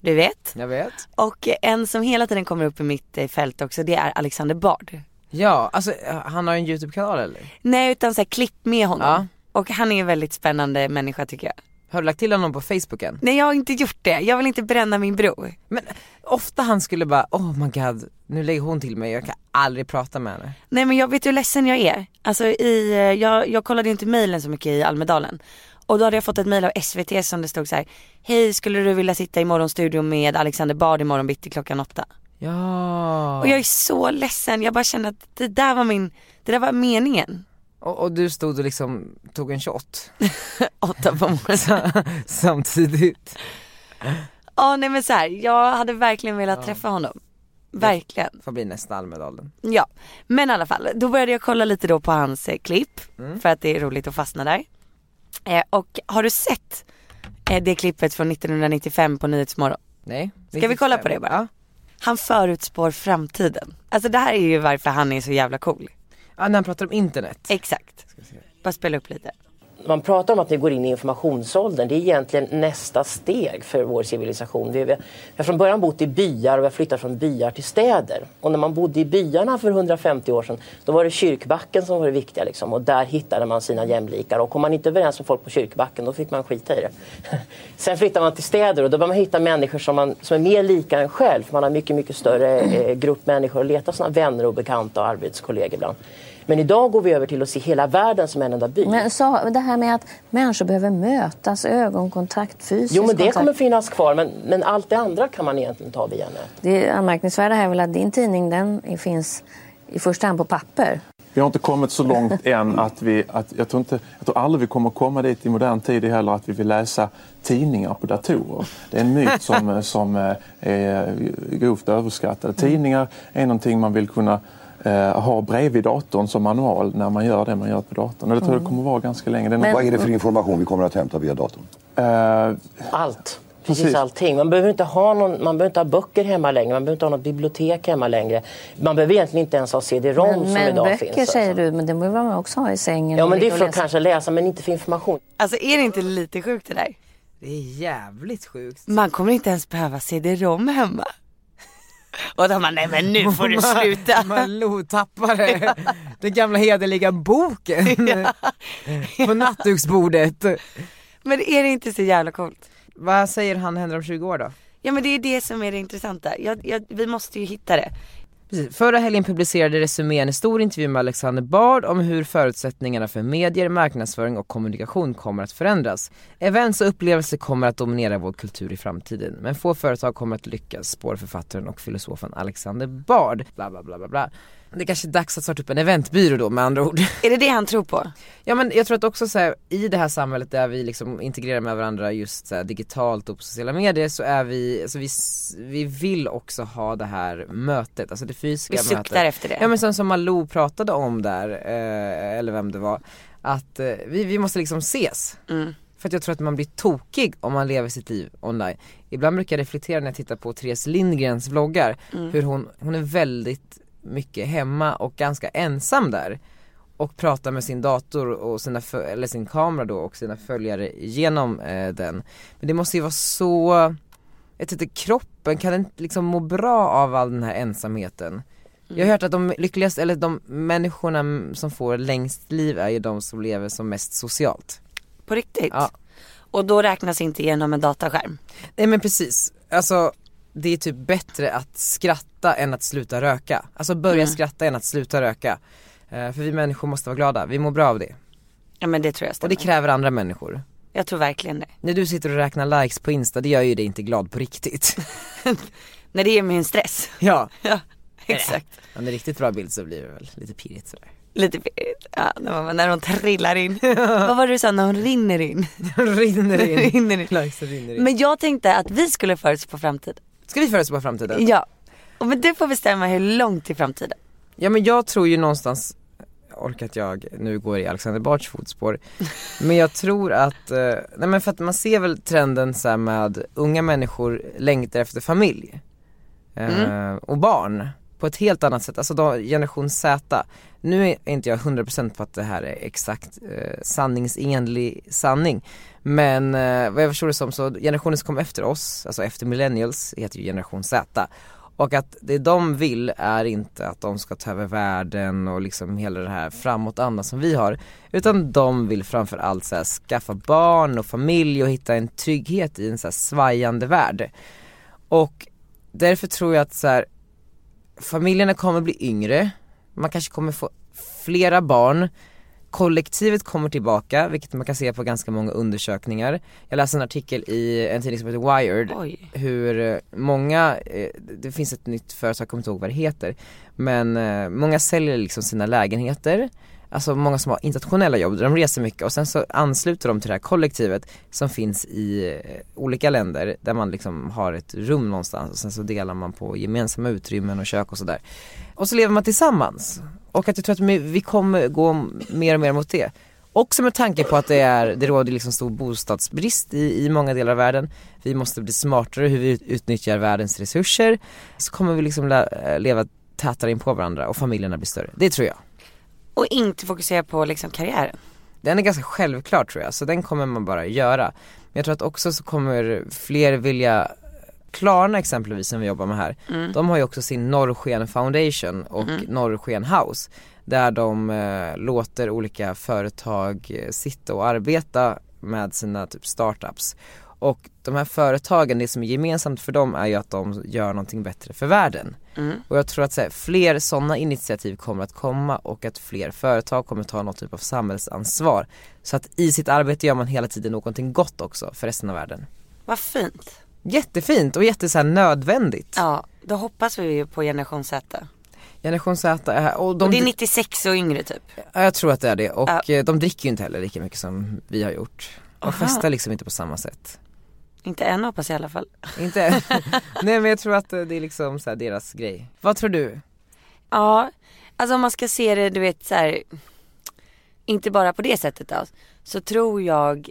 Du vet.
Jag vet.
Och eh, en som hela tiden kommer upp i mitt eh, fält också det är Alexander Bard.
Ja, alltså han har en YouTube-kanal eller?
Nej utan såhär klipp med honom.
Ja.
Och han är en väldigt spännande människa tycker jag.
Har du lagt till honom på Facebook än?
Nej jag har inte gjort det, jag vill inte bränna min bro.
Men ofta han skulle bara, oh my god, nu lägger hon till mig, jag kan aldrig prata med henne.
Nej men jag vet hur ledsen jag är. Alltså i, eh, jag, jag kollade ju inte mejlen så mycket i Almedalen. Och då hade jag fått ett mejl av SVT som det stod så här. Hej skulle du vilja sitta i morgonstudion med Alexander Bard imorgon bitti klockan åtta?
Ja.
Och jag är så ledsen, jag bara kände att det där var min, det där var meningen.
Och, och du stod och liksom tog en shot
Åtta på morgonen.
samtidigt.
Ja nej men så här, jag hade verkligen velat träffa honom. Verkligen.
Får bli nästa Almedalen.
Ja, men i alla fall. Då började jag kolla lite då på hans eh, klipp. För att det är roligt att fastna där. Eh, och har du sett eh, det klippet från 1995 på Nyhetsmorgon?
Nej.
Ska vi kolla på det bara?
Ja.
Han förutspår framtiden. Alltså det här är ju varför han är så jävla cool.
ja, när han pratar om internet.
Exakt. Bara spela upp lite.
Man pratar om att vi går in i informationsåldern. Det är egentligen nästa steg för vår civilisation. Vi vi har från början bott i byar och vi har flyttat från byar till städer. Och när man bodde i byarna för 150 år sedan då var det kyrkbacken som var det viktiga. Liksom. Och där hittade man sina jämlikar. Och kom man inte överens med folk på kyrkbacken då fick man skita i det. Sen flyttar man till städer och då börjar man hitta människor som, man, som är mer lika en själv. För man har mycket, mycket större eh, grupp människor att leta sina vänner och bekanta och arbetskollegor ibland. Men idag går vi över till att se hela världen som en enda by.
Men sa, det här med att människor behöver mötas, ögonkontakt, fysisk
Jo, men det
kontakt.
kommer finnas kvar, men, men allt det andra kan man egentligen ta via nät.
Det anmärkningsvärda här är väl att din tidning den finns i första hand på papper.
Vi har inte kommit så långt än att vi, att, jag, tror inte, jag tror aldrig vi kommer komma dit i modern tid heller att vi vill läsa tidningar på datorer. Det är en myt som, eh, som eh, är grovt överskattad. Tidningar är någonting man vill kunna eh, ha bredvid datorn som manual när man gör det man gör på datorn. Och det tror jag det kommer vara ganska länge.
Men- Vad är det för
information vi kommer att hämta via datorn? Eh,
Allt. Precis,
Precis.
allting. Man behöver, inte ha någon, man behöver inte ha böcker hemma längre, man behöver inte ha något bibliotek hemma längre. Man behöver egentligen inte ens ha CD-ROM som
men
idag
böcker
finns. alltså.
säger du, men det behöver man också ha i sängen.
Ja,
och
men det är
ligga och
för att
läsa.
kanske läsa, men inte för information.
Alltså är det inte lite sjukt det där?
Det är jävligt sjukt.
Man kommer inte ens behöva cd-rom hemma. Och de bara, nej men nu får du sluta.
Malou-tappare. Den gamla hederliga boken. På nattduksbordet.
Men är det inte så jävla coolt?
Vad säger han händer om 20 år då?
Ja men det är det som är det intressanta. Jag, jag, vi måste ju hitta det.
Precis. Förra helgen publicerade Resumé en stor intervju med Alexander Bard om hur förutsättningarna för medier, marknadsföring och kommunikation kommer att förändras. Events och upplevelser kommer att dominera vår kultur i framtiden, men få företag kommer att lyckas, spår författaren och filosofen Alexander Bard. Bla, bla, bla, bla, bla. Det är kanske är dags att starta upp en eventbyrå då med andra ord.
Är det det han tror på?
Ja men jag tror att också så här, i det här samhället där vi liksom integrerar med varandra just så här, digitalt och på sociala medier så är vi, alltså vi, vi vill också ha det här mötet, alltså det fysiska
vi
mötet.
Vi suktar efter det.
Ja men sen som Malou pratade om där, eh, eller vem det var, att eh, vi, vi måste liksom ses.
Mm.
För att jag tror att man blir tokig om man lever sitt liv online. Ibland brukar jag reflektera när jag tittar på Therese Lindgrens vloggar,
Mm.
hur hon, hon är väldigt mycket hemma och ganska ensam där och pratar med sin dator och sina, fö- eller sin kamera då och sina följare genom eh, den. Men det måste ju vara så, jag vet inte, kroppen kan den liksom må bra av all den här ensamheten. Jag har hört att de lyckligaste, eller de människorna m- som får längst liv är ju de som lever som mest socialt.
På riktigt?
Ja.
Och då räknas inte genom en dataskärm?
Nej men precis, alltså det är typ bättre att skratta än att sluta röka. Alltså börja skratta än att sluta röka. Eh, för vi människor måste vara glada, vi mår bra av det.
Ja men det tror jag
Och
stämmer.
det kräver andra människor.
Jag tror verkligen det.
När du sitter och räknar likes på Insta, det gör ju dig inte glad på riktigt.
När det ger mig en stress.
ja.
Ja, exakt.
Om det är riktigt bra bild så blir det väl lite pirrigt sådär.
Lite, ja, när, man, när de trillar in. Vad var det du sa, när hon rinner in?
rinner in.
Rinner in.
Likes rinner in.
Men jag tänkte att vi skulle förutspå framtiden.
Ska vi förutspå framtiden?
Ja. Och Men du får bestämma hur långt i framtiden.
Ja men jag tror ju någonstans, orkar att jag nu går i Alexander Bards fotspår, men jag tror att, eh, nej men för att man ser väl trenden så här med unga människor längtar efter familj eh,
Mm.
och barn på ett helt annat sätt, alltså då, generation Z. Nu är inte jag 100% på att det här är exakt eh, sanningsenlig sanning men eh, vad jag förstår det som så generationen som kom efter oss, alltså efter millennials, heter ju generation Z och att det de vill är inte att de ska ta över världen och liksom hela det här framåtandan som vi har. Utan de vill framförallt så här, skaffa barn och familj och hitta en trygghet i en så här, svajande värld. Och därför tror jag att så här, familjerna kommer bli yngre, man kanske kommer få flera barn, kollektivet kommer tillbaka, vilket man kan se på ganska många undersökningar. Jag läste en artikel i en tidning som heter Wired,
Oj.
hur eh, många, eh, det finns ett nytt företag, jag kommer inte ihåg vad det heter, men eh, många säljer liksom sina lägenheter, alltså många som har internationella jobb där de reser mycket och sen så ansluter de till det här kollektivet som finns i eh, olika länder där man liksom har ett rum någonstans och sen så delar man på gemensamma utrymmen och kök och sådär. Och så lever man tillsammans och att jag tror att vi- vi kommer gå mer och mer mot det. Också med tanke på att det, är, det råder liksom stor bostadsbrist i, i många delar av världen. Vi måste bli smartare hur vi ut- utnyttjar världens resurser. Så kommer vi liksom lä- eh, leva tätare in på varandra och familjerna blir större. Det tror jag.
Och inte fokusera på liksom karriären.
Den är ganska självklar tror jag, så den kommer man bara göra. Men jag tror att också så kommer fler vilja Klarna exempelvis som vi jobbar med här,
Mm.
de har ju också sin Norrsken Foundation och
Mm.
Norrsken House där de eh, låter olika företag eh, sitta och arbeta med sina typ startups. Och de här företagen, det som är gemensamt för dem är ju att de gör någonting bättre för världen.
Mm.
Och jag tror att så här, fler sådana initiativ kommer att komma och att fler företag kommer ta någon typ av samhällsansvar. Så att i sitt arbete gör man hela tiden någonting gott också för resten av världen.
Vad fint.
Jättefint och jätte så här, nödvändigt.
Ja, då hoppas vi ju på generation Z.
Generation Z är här och de
Och det är 96 och yngre typ.
Ja, jag tror att det är det och
Ja.
eh, de dricker ju inte heller lika mycket som vi har gjort. De
Aha.
festar liksom inte på samma sätt.
Inte än hoppas jag i alla fall.
Inte? Nej men jag tror att eh, det är liksom så här deras grej. Vad tror du?
Ja, alltså om man ska se det du vet så här, inte bara på det sättet då, så tror jag,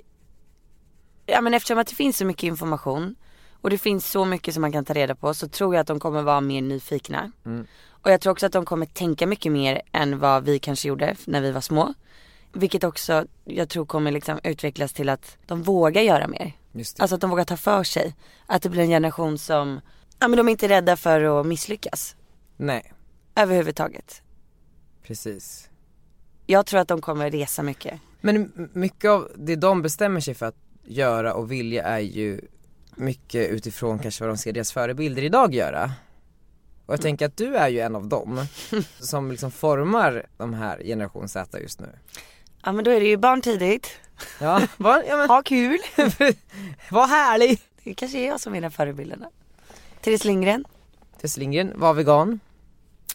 ja men eftersom att det finns så mycket information och det finns så mycket som man kan ta reda på så tror jag att de kommer vara mer nyfikna.
Mm.
Och jag tror också att de kommer tänka mycket mer än vad vi kanske gjorde när vi var små. Vilket också jag tror kommer liksom utvecklas till att de vågar göra mer. Alltså att de vågar ta för sig. Att det blir en generation som, ja men de är inte rädda för att misslyckas.
Nej,
Överhuvudtaget.
precis.
Jag tror att de kommer resa mycket.
Men mycket av det de bestämmer sig för att göra och vilja är ju mycket utifrån kanske vad de ser deras förebilder idag göra. Och jag tänker att du är ju en av dem som liksom formar de här generation Z just nu.
Ja men då är det ju barn tidigt.
Ja, var, ja men,
Ha kul.
vad härlig!
Det kanske är jag som är den förebilderna. Therese Lindgren.
Tess Lindgren, var vegan,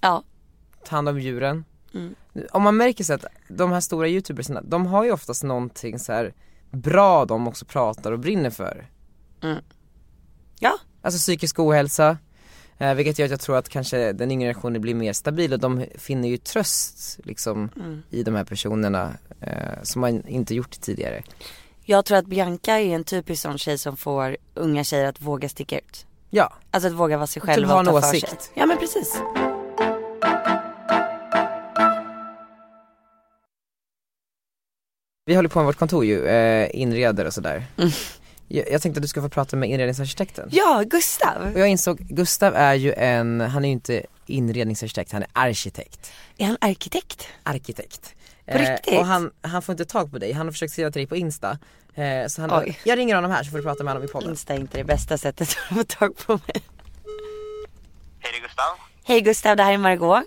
Ja.
ta hand om djuren.
Mm.
Om man märker så att de här stora youtubersna, de har ju oftast någonting så här bra de också pratar och brinner för.
Mm. Ja.
Alltså psykisk ohälsa, eh, vilket gör att jag tror att kanske den yngre generationen blir mer stabil och de finner ju tröst liksom
Mm.
i de här personerna eh, som man inte gjort tidigare.
Jag tror att Bianca är en typisk sån tjej som får unga tjejer att våga sticka ut.
Ja,
Alltså att våga vara sig själv
ha
och
en
ta för
åsikt.
sig. Ja men precis.
vi håller på med vårt kontor ju, eh, inreder och sådär. Jag, jag tänkte att du ska få prata med inredningsarkitekten.
Ja, Gustav.
Och jag insåg, Gustav är ju en, han är ju inte inredningsarkitekt, han är arkitekt.
Är han arkitekt?
Arkitekt.
På riktigt?
och han, han får inte tag på dig, han har försökt skriva till dig på Insta. Eh, så han,
Oj.
jag ringer honom här så får du prata med honom i podden.
Insta är inte det bästa sättet att få tag på mig.
Hej det är Gustav.
Hej Gustav, det här är Margot.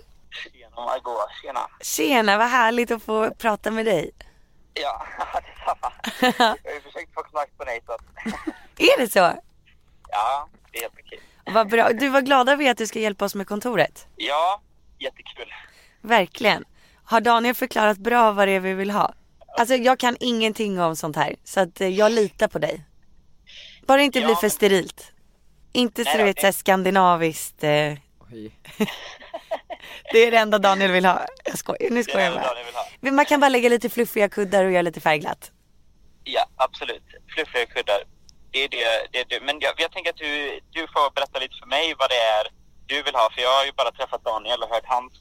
Tjena Margot, tjena.
Tjena, vad härligt att få prata med dig.
Ja, detsamma. Jag har ju försökt få kontakt på dig så att,
Är det så?
ja, det är helt okej.
Vad bra. Du, var glada vi är att du ska hjälpa oss med kontoret.
Ja, jättekul.
Verkligen. Har Daniel förklarat bra vad det är vi vill ha? Alltså jag kan ingenting om sånt här, så att eh, jag litar på dig. Bara det inte blir för sterilt. Inte så
Nej,
du
då,
vet
det-
såhär skandinaviskt. Eh... det är det enda Daniel vill ha. Jag skojar, nu skojar
det
jag
är
bara.
jag vill ha.
Men Man kan bara lägga lite fluffiga kuddar och göra lite färgglatt.
Ja, absolut. Fluffiga kuddar. Det är det, det, är det. Men jag, jag tänker att du, du får berätta lite för mig vad det är du vill ha. För jag har ju bara träffat Daniel och hört hans,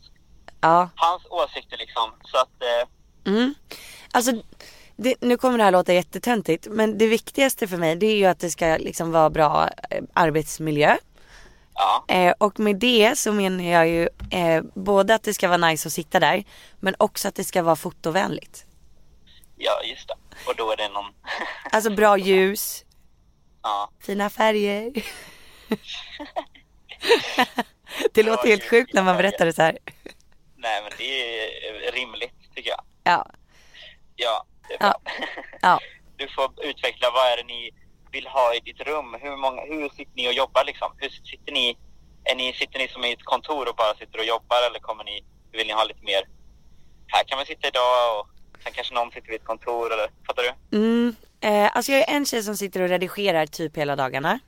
Ja.
hans åsikter liksom. Så att, eh,
Mm. Alltså, det, nu kommer det här låta jättetöntigt men det viktigaste för mig det är ju att det ska liksom vara bra eh, arbetsmiljö. Eh, och med det så menar jag ju eh, både att det ska vara nice att sitta där men också att det ska vara fotovänligt.
ja just det. Och då är det någon,
Alltså bra ljus,
ja.
fina färger. det låter helt sjukt när man berättar det så här.
Nej men det är rimligt tycker jag.
Ja,
Ja, det är
ja,
bra.
ja.
du får utveckla vad är det ni vill ha i ditt rum? Hur, många, hur sitter ni och jobbar liksom? Hur sitter ni? Är ni, sitter ni som i ett kontor och bara sitter och jobbar eller kommer ni, vill ni ha lite mer? Här kan man sitta idag och sen kanske någon sitter vid ett kontor eller fattar du?
Mm. Eh, alltså jag är en tjej som sitter och redigerar typ hela dagarna.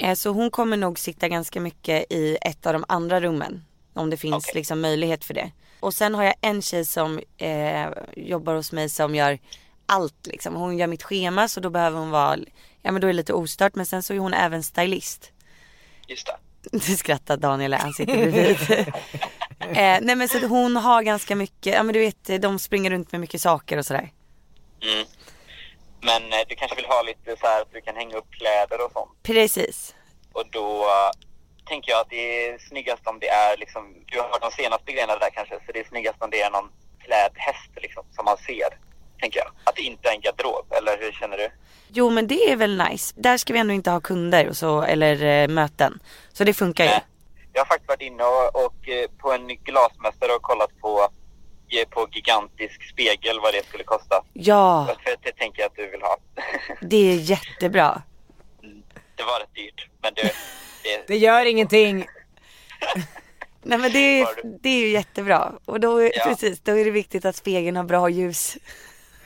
Eh, så hon kommer nog sitta ganska mycket i ett av de andra rummen. Om det finns liksom möjlighet för det. Och sen har jag en tjej som eh, jobbar hos mig som gör allt liksom. Hon gör mitt schema så då behöver hon vara, ja men då är det lite ostört. Men sen så är hon även stylist.
Just det.
Nu skrattar Daniel, han sitter bredvid. eh, nej men så att hon har ganska mycket, ja men du vet de springer runt med mycket saker och sådär.
Mm. Men eh, du kanske vill ha lite så här att du kan hänga upp kläder och sånt.
Precis.
Och då eh, tänker jag att det är snyggast om det är liksom, du har de senaste grejerna där kanske, så det är snyggast om det är någon klädd häst liksom, som man ser, tänker jag. Att det inte är en garderob, eller hur känner du?
Jo men det är väl nice. Där ska vi ändå inte ha kunder och så, eller eh, möten. Så det funkar ju.
Eh, Jag har faktiskt varit inne och, och eh, på en glasmästare och kollat på, eh, på gigantisk spegel, vad det skulle kosta.
Ja.
För att det tänker jag att du vill ha.
Det är jättebra.
det var rätt dyrt, men du, det,
Det gör ingenting!
Nej men det är, det är ju jättebra. Och då, är-
Ja.
precis, då är det viktigt att spegeln har bra ljus.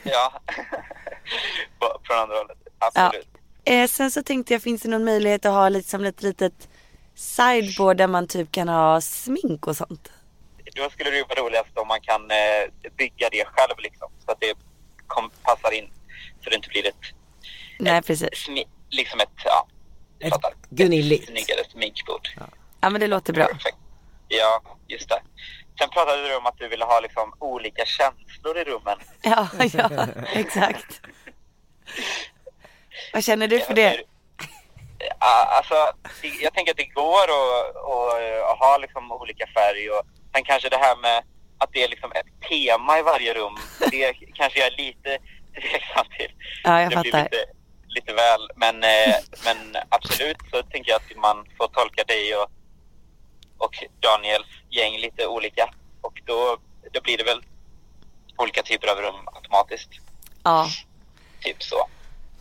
ja. På- Från andra hållet, absolut.
Eh, sen så tänkte jag, finns det någon möjlighet att ha liksom ett litet sideboard där man typ kan ha smink och sånt?
Då skulle det ju vara roligast om man kan eh, bygga det själv liksom, så att det kom, passar in. Så det inte blir ett,
Nej precis.
smi, liksom ett, ja,
Ett Gunilligt.
snyggare sminkbord. Ja.
Ja men det låter bra.
just det. Sen pratade du om att du ville ha liksom olika känslor i rummen.
Ja, ja exakt. Vad känner du för det?
Ja, Alltså, det- jag tänker att det går att, att, att ha liksom olika färg och sen kanske det här med att det är liksom ett tema i varje rum. Det kanske jag är lite tveksam till.
Ja, jag
det blir
fattar.
lite, lite väl, men, eh, men absolut så tänker jag att man får tolka dig och, och Daniels gäng lite olika och då, då blir det väl olika typer av rum automatiskt.
Ja,
Typ så.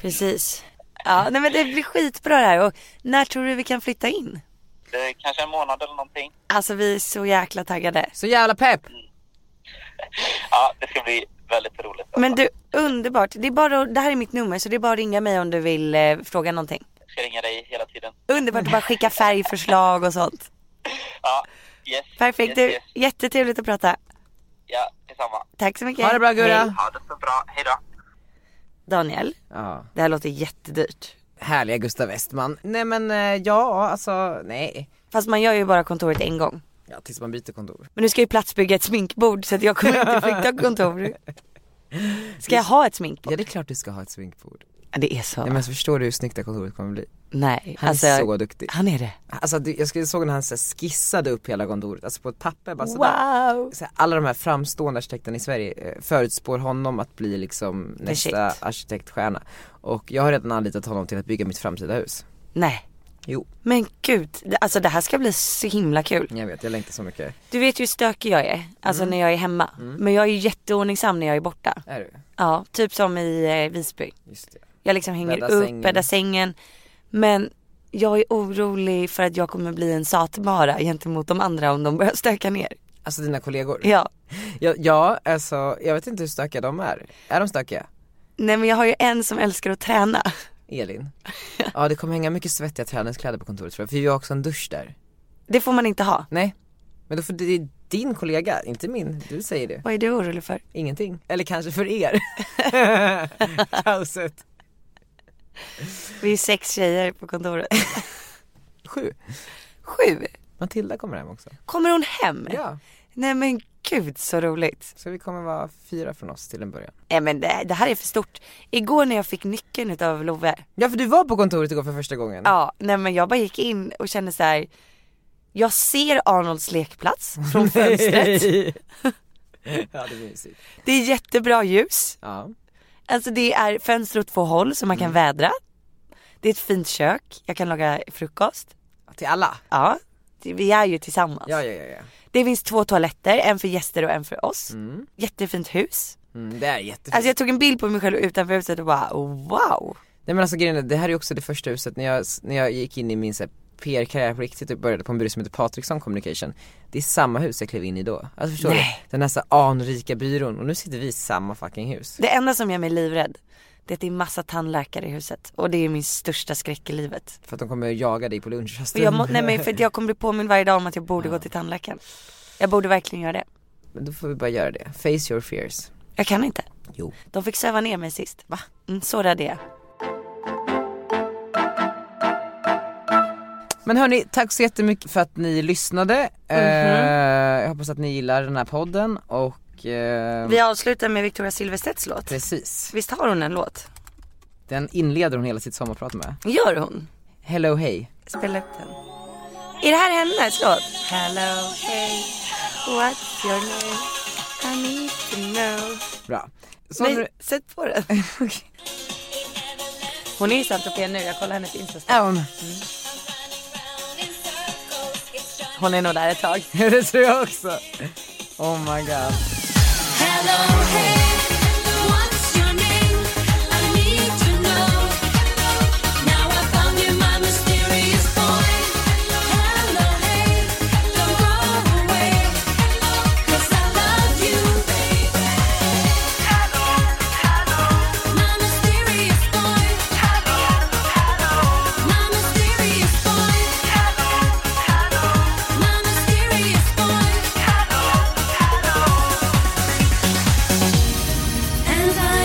precis. Ja, nej men det blir skitbra det här och när tror du vi kan flytta in?
Det är kanske en månad eller någonting.
Alltså vi är så jäkla taggade.
Så jävla pepp!
Ja, det ska bli väldigt roligt. Alltså,
Men du, underbart. Det är bara att- det här är mitt nummer så det är bara att ringa mig om du vill eh, fråga någonting.
Jag ska ringa dig hela tiden.
Underbart att bara skicka färgförslag och sånt.
Ja, yes.
Perfekt,
yes,
du,
Yes.
jättetrevligt att prata.
Ja, detsamma.
Tack så mycket.
Ha det bra, Gurra.
Hej.
Ha det så bra. Hej då.
Daniel,
Ja.
det här låter jättedyrt.
Härliga Gustav Westman. Nej men eh, ja, alltså nej.
Fast man gör ju bara kontoret en gång.
Ja, tills man byter kontor.
Men nu ska jag ju platsbygga ett sminkbord så att jag kommer inte flytta kontor. Ska jag ha ett sminkbord?
Ja det är klart du ska ha ett sminkbord.
Ja, Det är så.
Nej men så förstår du hur snyggt det här kontoret kommer bli?
Nej,
Han
alltså,
är så duktig.
Han är det.
Alltså det- jag skulle- såg när han så här, skissade upp hela kontoret, alltså på ett papper bara sådär.
Wow.
Så här, alla de här framstående arkitekterna i Sverige eh, förutspår honom att bli liksom nästa
shit.
arkitektstjärna. Och jag har redan anlitat honom till att bygga mitt framtida hus.
Nej.
Jo.
Men gud, det- alltså det här ska bli så himla kul.
Jag vet, jag längtar så mycket.
Du vet ju hur stökig jag är, alltså
Mm.
när jag är hemma. Men jag är ju jätteordningsam när jag är borta.
Är du?
Ja, typ som i eh, Visby.
Just det.
Jag liksom hänger
Bädda
upp,
sängen.
bäddar sängen. Men jag är orolig för att jag kommer bli en satvara gentemot de andra om de börjar stöka ner.
Alltså dina kollegor?
Ja.
Ja, ja alltså jag vet inte hur stökiga de är. Är de stökiga?
Nej men jag har ju en som älskar att träna.
Elin? Ja det kommer hänga mycket svettiga träningskläder på kontoret tror jag, för vi har också en dusch där.
Det får man inte ha.
Nej, men då får det är din kollega, inte min, du säger det.
Vad är du orolig för?
Ingenting. Eller kanske för er. Kaoset.
Vi är sex tjejer på kontoret.
Sju.
Sju?
Matilda kommer hem också.
Kommer hon hem?
Ja.
Nej men gud så roligt.
Så vi kommer vara fyra från oss till en början.
Nej men det, det här är för stort. Igår när jag fick nyckeln utav Love.
Ja för du var på kontoret igår för första gången.
Ja, nej men jag bara gick in och kände så här. Jag ser Arnolds lekplats från fönstret.
Nej. ja det är mysigt.
Det är jättebra ljus.
Ja.
Alltså det är fönster åt två håll så man
Mm.
kan vädra. Det är ett fint kök. Jag kan laga frukost.
Till alla?
Ja. det- Vi är ju tillsammans.
Ja ja ja. ja.
Det finns två toaletter, en för gäster och en för oss. Jättefint hus.
Mm, det är jättefint.
Alltså jag tog en bild på mig själv utanför huset och bara wow.
Nej men alltså grejen är, det här är också det första huset när jag, när jag gick in i min så här, PR-karriär på riktigt och började på en byrå som heter Patriksson Communication Det är samma hus jag klev in i då, alltså förstår
Nej.
du? Den här så här anrika byrån och nu sitter vi i samma fucking hus
Det enda som gör mig livrädd det är att det är massa tandläkare i huset och det är min största skräck i livet.
För att de kommer att jaga dig på
Och
lunchrasten
jag må, nej men för att jag kommer bli påmind varje dag om att jag borde gå till tandläkaren. Jag borde verkligen göra det.
Men då får vi bara göra det, face your fears
Jag kan inte.
Jo
De fick söva ner mig sist. Va? Mm, så rädd är jag.
Men hörni, tack så jättemycket för att ni lyssnade eh, Jag hoppas att ni gillar den här podden och eh,
Mhm. Vi avslutar med Victoria Silvstedts låt.
Precis,
Visst har hon en låt?
den inleder hon hela sitt sommarprat med
Gör hon?
Hello hej
Spela upp den. Är det här hennes låt? Hello, hey, what's your name? I need to know.
Bra Så
Nej,
nu-
sätt på den. Hon är i Saint Tropez nu, jag kollar hennes Insta.
Är hon?
Hon är nog där ett tag.
det tror jag också. Oh my god.
Hello,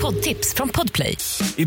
poddtips från Podplay.
I